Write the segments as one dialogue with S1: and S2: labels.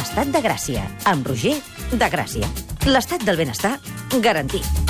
S1: Estat de Gràcia, amb Roger de Gràcia. L'estat del benestar garantit.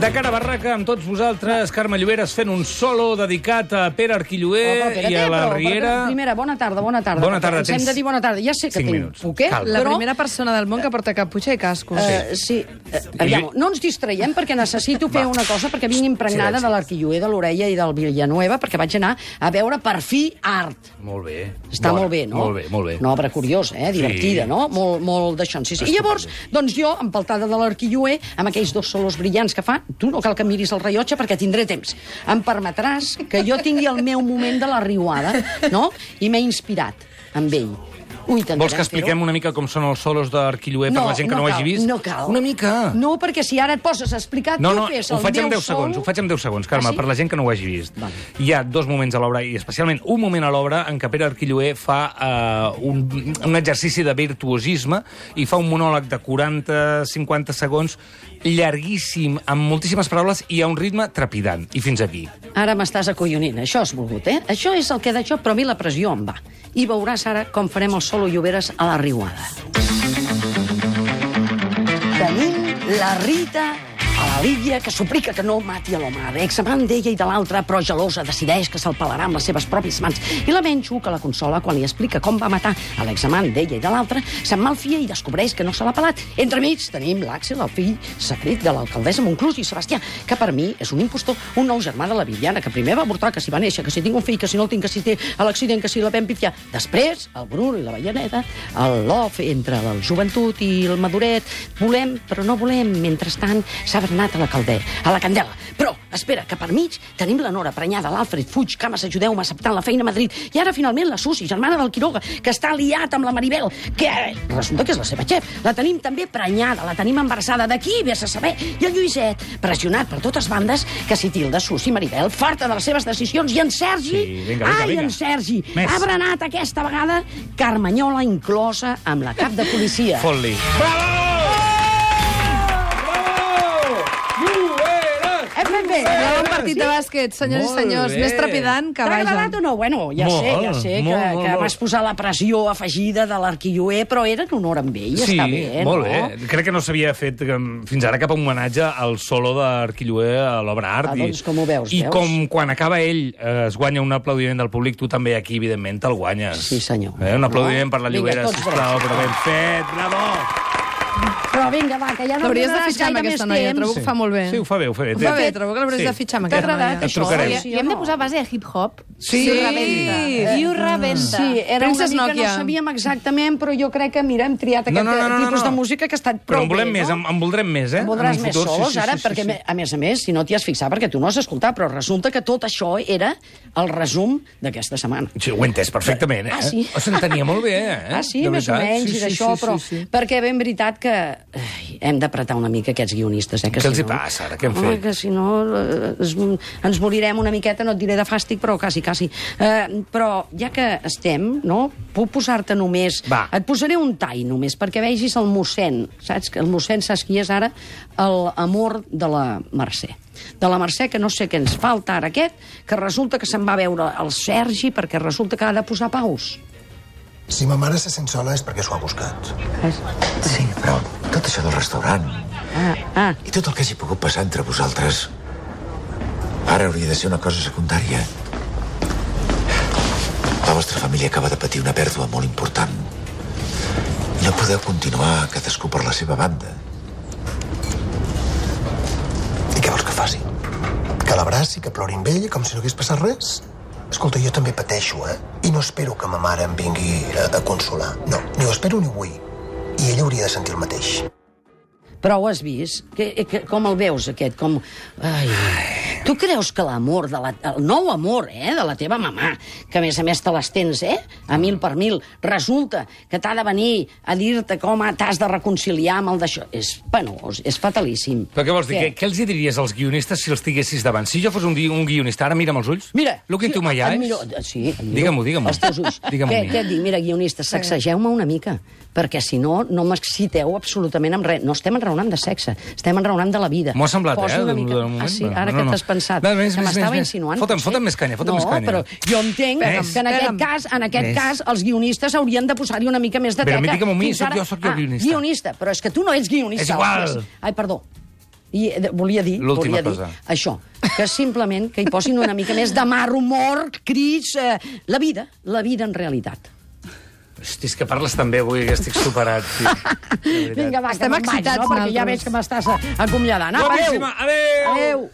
S2: De cara a Barraca, amb tots vosaltres, Carme Lloberes fent un solo dedicat a Pere
S3: Eh,
S2: Arquilloé
S4: Home, espera't,
S2: i a la
S4: però,
S2: Riera.
S4: perquè- Primera, bona tarda, bona tarda.
S2: Bona tarda,
S4: Ens hem
S2: tens
S4: de dir bona tarda. Ja sé que
S2: cinc
S4: tinc
S2: minuts.
S4: poquet,
S2: Cal.
S4: però...
S3: La primera persona del món que porta caputxa i cascos.
S4: Eh, sí, eh, aviam, no ens distreiem perquè necessito fer una cosa perquè vinc impregnada
S2: Silenci.
S4: de l'arquilloé de l'orella i del Villanueva perquè vaig anar a veure per fi art.
S2: Molt bé.
S4: Està
S2: Bona,
S4: molt bé, no?
S2: Molt bé, molt bé.
S4: Una obra curiosa, eh? divertida,
S2: Sí.
S4: no? Molt, molt d'això. Sí, sí. I llavors, doncs jo, empaltada de l'arquilloé, amb aquells dos solos brillants que fa, tu no cal que miris el rellotge perquè tindré temps. Em permetràs que jo tingui el meu moment de la riuada, no? I m'he inspirat amb ell. Ho intentarem
S2: Vols que
S4: fer-ho.
S2: expliquem una mica com són els solos d'Arquilloé per la gent que no, ho hagi
S4: cal,
S2: vist?
S4: No cal.
S2: Una mica.
S4: No, perquè si ara et poses a explicar,
S2: No,
S4: tu
S2: no,
S4: fes
S2: ho
S4: el
S2: faig en
S4: meu
S2: 10 segons,
S4: sol.
S2: ho faig en 10 segons, Carme,
S4: Ah, sí?
S2: per la gent que no ho hagi vist.
S4: Vale.
S2: Hi ha dos moments a l'obra, i especialment un moment a l'obra en què Pere Arquilloé fa eh, un, un exercici de virtuosisme i fa un monòleg de 40-50 segons llarguíssim, amb moltíssimes paraules i a un ritme trepidant. I fins aquí.
S4: Ara m'estàs acollonint, això has volgut, eh? Això és el que d'això, però a mi la pressió em va. I veuràs ara com farem el solo Lloberes a la riuada. Tenim la Rita a la Lídia, que suplica que no mati a l'Omar. Examant d'ella i de l'altra, però gelosa, decideix que se'l pelarà amb les seves pròpies mans. I la Menxu, que la consola quan li explica com va matar a l'examant d'ella i de l'altra, se'n malfia i descobreix que no se l'ha pelat. Entre mig tenim l'Àxel, el fill secret de l'alcaldessa Monclús i Sebastià, que per mi és un impostor, un nou germà de la Viviana, que primer va avortar, que si va néixer, que si tinc un fill, que si no el tinc, que si té a l'accident, que si la vam pifiar. Després, el Bruno i la Vallaneda, el lof entre la joventut i el maduret, volem, però no volem. Mentrestant, s'ha bernat a la caldera, a la candela. Però, espera, que per mig tenim la Nora prenyada, l'Alfred Fuig, Cames, ajudeu-me acceptant la feina a Madrid. I ara, finalment, la Susi, germana del Quiroga, que està liat amb la Maribel, que resulta que és la seva xef. La tenim també prenyada, la tenim embarassada. D'aquí vés a saber. I el Lluiset, pressionat per totes bandes, que si tilda Susi Maribel, farta de les seves decisions, i en Sergi...
S2: Sí, vinga, vinga,
S4: Ai,
S2: vinga.
S4: en Sergi,
S2: Més.
S4: ha berenat aquesta vegada Carmanyola inclosa amb la cap de policia.
S2: Fot-li.
S4: Eh,
S3: FB! Era un partit de bàsquet, senyors i
S2: Molt
S3: senyors.
S2: bé.
S3: Més trepidant que
S4: T'ha agradat o
S3: vaja.
S4: no? Bueno, ja
S2: Molt,
S4: sé, ja sé que,
S2: molt, molt,
S4: que
S2: molt.
S4: vas posar la pressió afegida de l'arquilloé, però era en honor amb ell,
S2: sí,
S4: està bé,
S2: molt
S4: no?
S2: bé. Crec que no s'havia fet em, fins ara cap homenatge al solo d'Arquilloé a l'obra art.
S4: Ah,
S2: I-
S4: doncs com ho veus,
S2: I
S4: veus?
S2: com quan acaba ell eh, es guanya un aplaudiment del públic, tu també aquí, evidentment, te'l guanyes.
S4: Sí, senyor.
S2: Eh, un aplaudiment
S4: No?
S2: per la
S4: Vinga,
S2: Llobera,
S4: tots
S2: sisplau,
S4: braus.
S2: però ben fet, bravo!
S4: Però vinga, va, que ja no
S3: L'hauries de
S4: donaràs
S3: fitxar amb
S4: gaire
S3: aquesta
S4: més
S3: noia,
S4: temps.
S3: trobo que ho fa molt bé.
S2: Sí, ho fa bé, ho fa bé.
S3: Ho fa bé,
S2: Sí.
S3: trobo que l'hauries de fitxar amb
S2: T'ha
S3: aquesta
S2: agradat,
S3: noia.
S2: això? trucarem.
S4: Sí
S5: I
S4: o
S5: hem de
S4: no?
S5: posar base de hip-hop.
S2: Sí.
S5: Diu rebenta.
S3: Sí.
S5: Diu rebenta.
S4: Sí, era
S3: Princess
S4: una mica,
S3: Nokia.
S4: no sabíem exactament, però jo crec que, mira, hem triat aquest tipus de música que ha estat prou
S2: Però en volem
S4: bé,
S2: més,
S4: no?
S2: en, en voldrem més, eh?
S4: En voldràs
S2: un
S4: més
S2: futur,
S4: solos ara, perquè, a més a més, si no t'hi has fixat, perquè tu no has escoltat, però resulta que tot això era el resum d'aquesta setmana.
S2: Sí, ho he entès perfectament, eh?
S4: Ah, sí?
S2: O s'entenia molt bé, eh?
S4: Ah, sí,
S2: De
S4: més o
S2: veritat.
S4: menys,
S2: Sí,
S4: i
S2: sí,
S4: d'això,
S2: sí, sí,
S4: però...
S2: sí.
S4: Perquè ben veritat que ai, hem d'apretar una mica aquests guionistes, eh? Que
S2: Què els
S4: si
S2: hi
S4: no...
S2: passa, ara? Què han
S4: Home,
S2: fet?
S4: Que si no eh, es, ens morirem una miqueta, no et diré de fàstic, però quasi, quasi. Eh, però ja que estem, no? Puc posar-te només...
S2: Va.
S4: Et posaré un tall només, perquè vegis el mossèn, saps? Que el mossèn, saps qui és ara? El amor de la Mercè. De la Mercè, que no sé què ens falta ara aquest, que resulta que se'n va a veure el Sergi perquè resulta que ha de posar paus.
S6: Si ma mare se sent sola és perquè s'ho ha buscat.
S4: Saps?
S6: Sí, però tot això del restaurant
S4: Ah, ah,
S6: i tot el que hagi pogut passar entre vosaltres ara hauria de ser una cosa secundària. La vostra família acaba de patir una pèrdua molt important. I no podeu continuar cadascú per la seva banda. I què vols que faci? Que l'abraci, que plori amb ell, com si no hagués passat res? Escolta, jo també pateixo, eh? I no espero que ma mare em vingui a, a consolar. No, ni ho espero ni ho vull. I ella hauria de sentir el mateix.
S4: Però ho has vist? Que, eh, que, com el veus, aquest? Com... Ai. Tu creus que l'amor, de la, el nou amor eh, de la teva mamà, que a més a més te les tens eh, a mil per mil, resulta que t'ha de venir a dir-te com t'has de reconciliar amb el d'això. És penós, és fatalíssim.
S2: Però què vols dir? Què? Què els hi diries als guionistes si els tinguessis davant? Si jo fos un, gui- un guionista, ara mira'm els ulls.
S4: Mira,
S2: Lo que
S4: sí,
S2: sí, tu m'allà
S4: et
S2: és...
S4: miro- eh, sí, et miro
S2: Digue-m'ho, digue-m'ho.
S4: Els teus ulls.
S2: Digue-m'ho
S4: què,
S2: a mi.
S4: què et dic? Mira, guionista, sacsegeu-me una mica, perquè si no, no m'exciteu absolutament amb res. No estem enraonant de sexe, estem enraonant de la vida.
S2: M'ho ha semblat,
S4: Posa
S2: eh,
S4: Una
S2: d'un-
S4: mica...
S2: d'un moment.
S4: Ah, sí, ara
S2: No,
S4: que
S2: no.
S4: t'has pensat
S2: Va, més,
S4: que
S2: més,
S4: m'estava
S2: més, més.
S4: insinuant.
S2: Fota'm-
S4: potser.
S2: fota'm més canya, fota'm
S4: no,
S2: més canya.
S4: però jo entenc
S2: Més.
S4: que en
S3: Espera'm.
S4: aquest cas, en aquest
S2: Més.
S4: cas, els guionistes haurien de posar-hi una mica més de
S2: Però a mi
S4: teca.
S2: digue'm a mi,
S4: Fins
S2: sóc
S4: ara-
S2: jo, sóc jo
S4: Ah,
S2: guionista.
S4: Guionista, però és que tu no ets guionista.
S2: És igual.
S4: ostres. Ai, perdó. I eh, volia dir,
S2: L'última
S4: volia dir
S2: cosa.
S4: això, que simplement que hi posin una mica més de mar, humor, crits, eh, la vida, la vida en realitat.
S2: Hosti, és que parles també avui, que estic superat, tio. De veritat.
S4: Vinga, va,
S3: Estem
S4: que me'n vaig,
S3: excitats
S4: no? Perquè ja
S3: nosaltres.
S4: veig que m'estàs eh, acomiadant. Apa, adéu.
S2: Guapíssima, adéu!
S4: Adéu.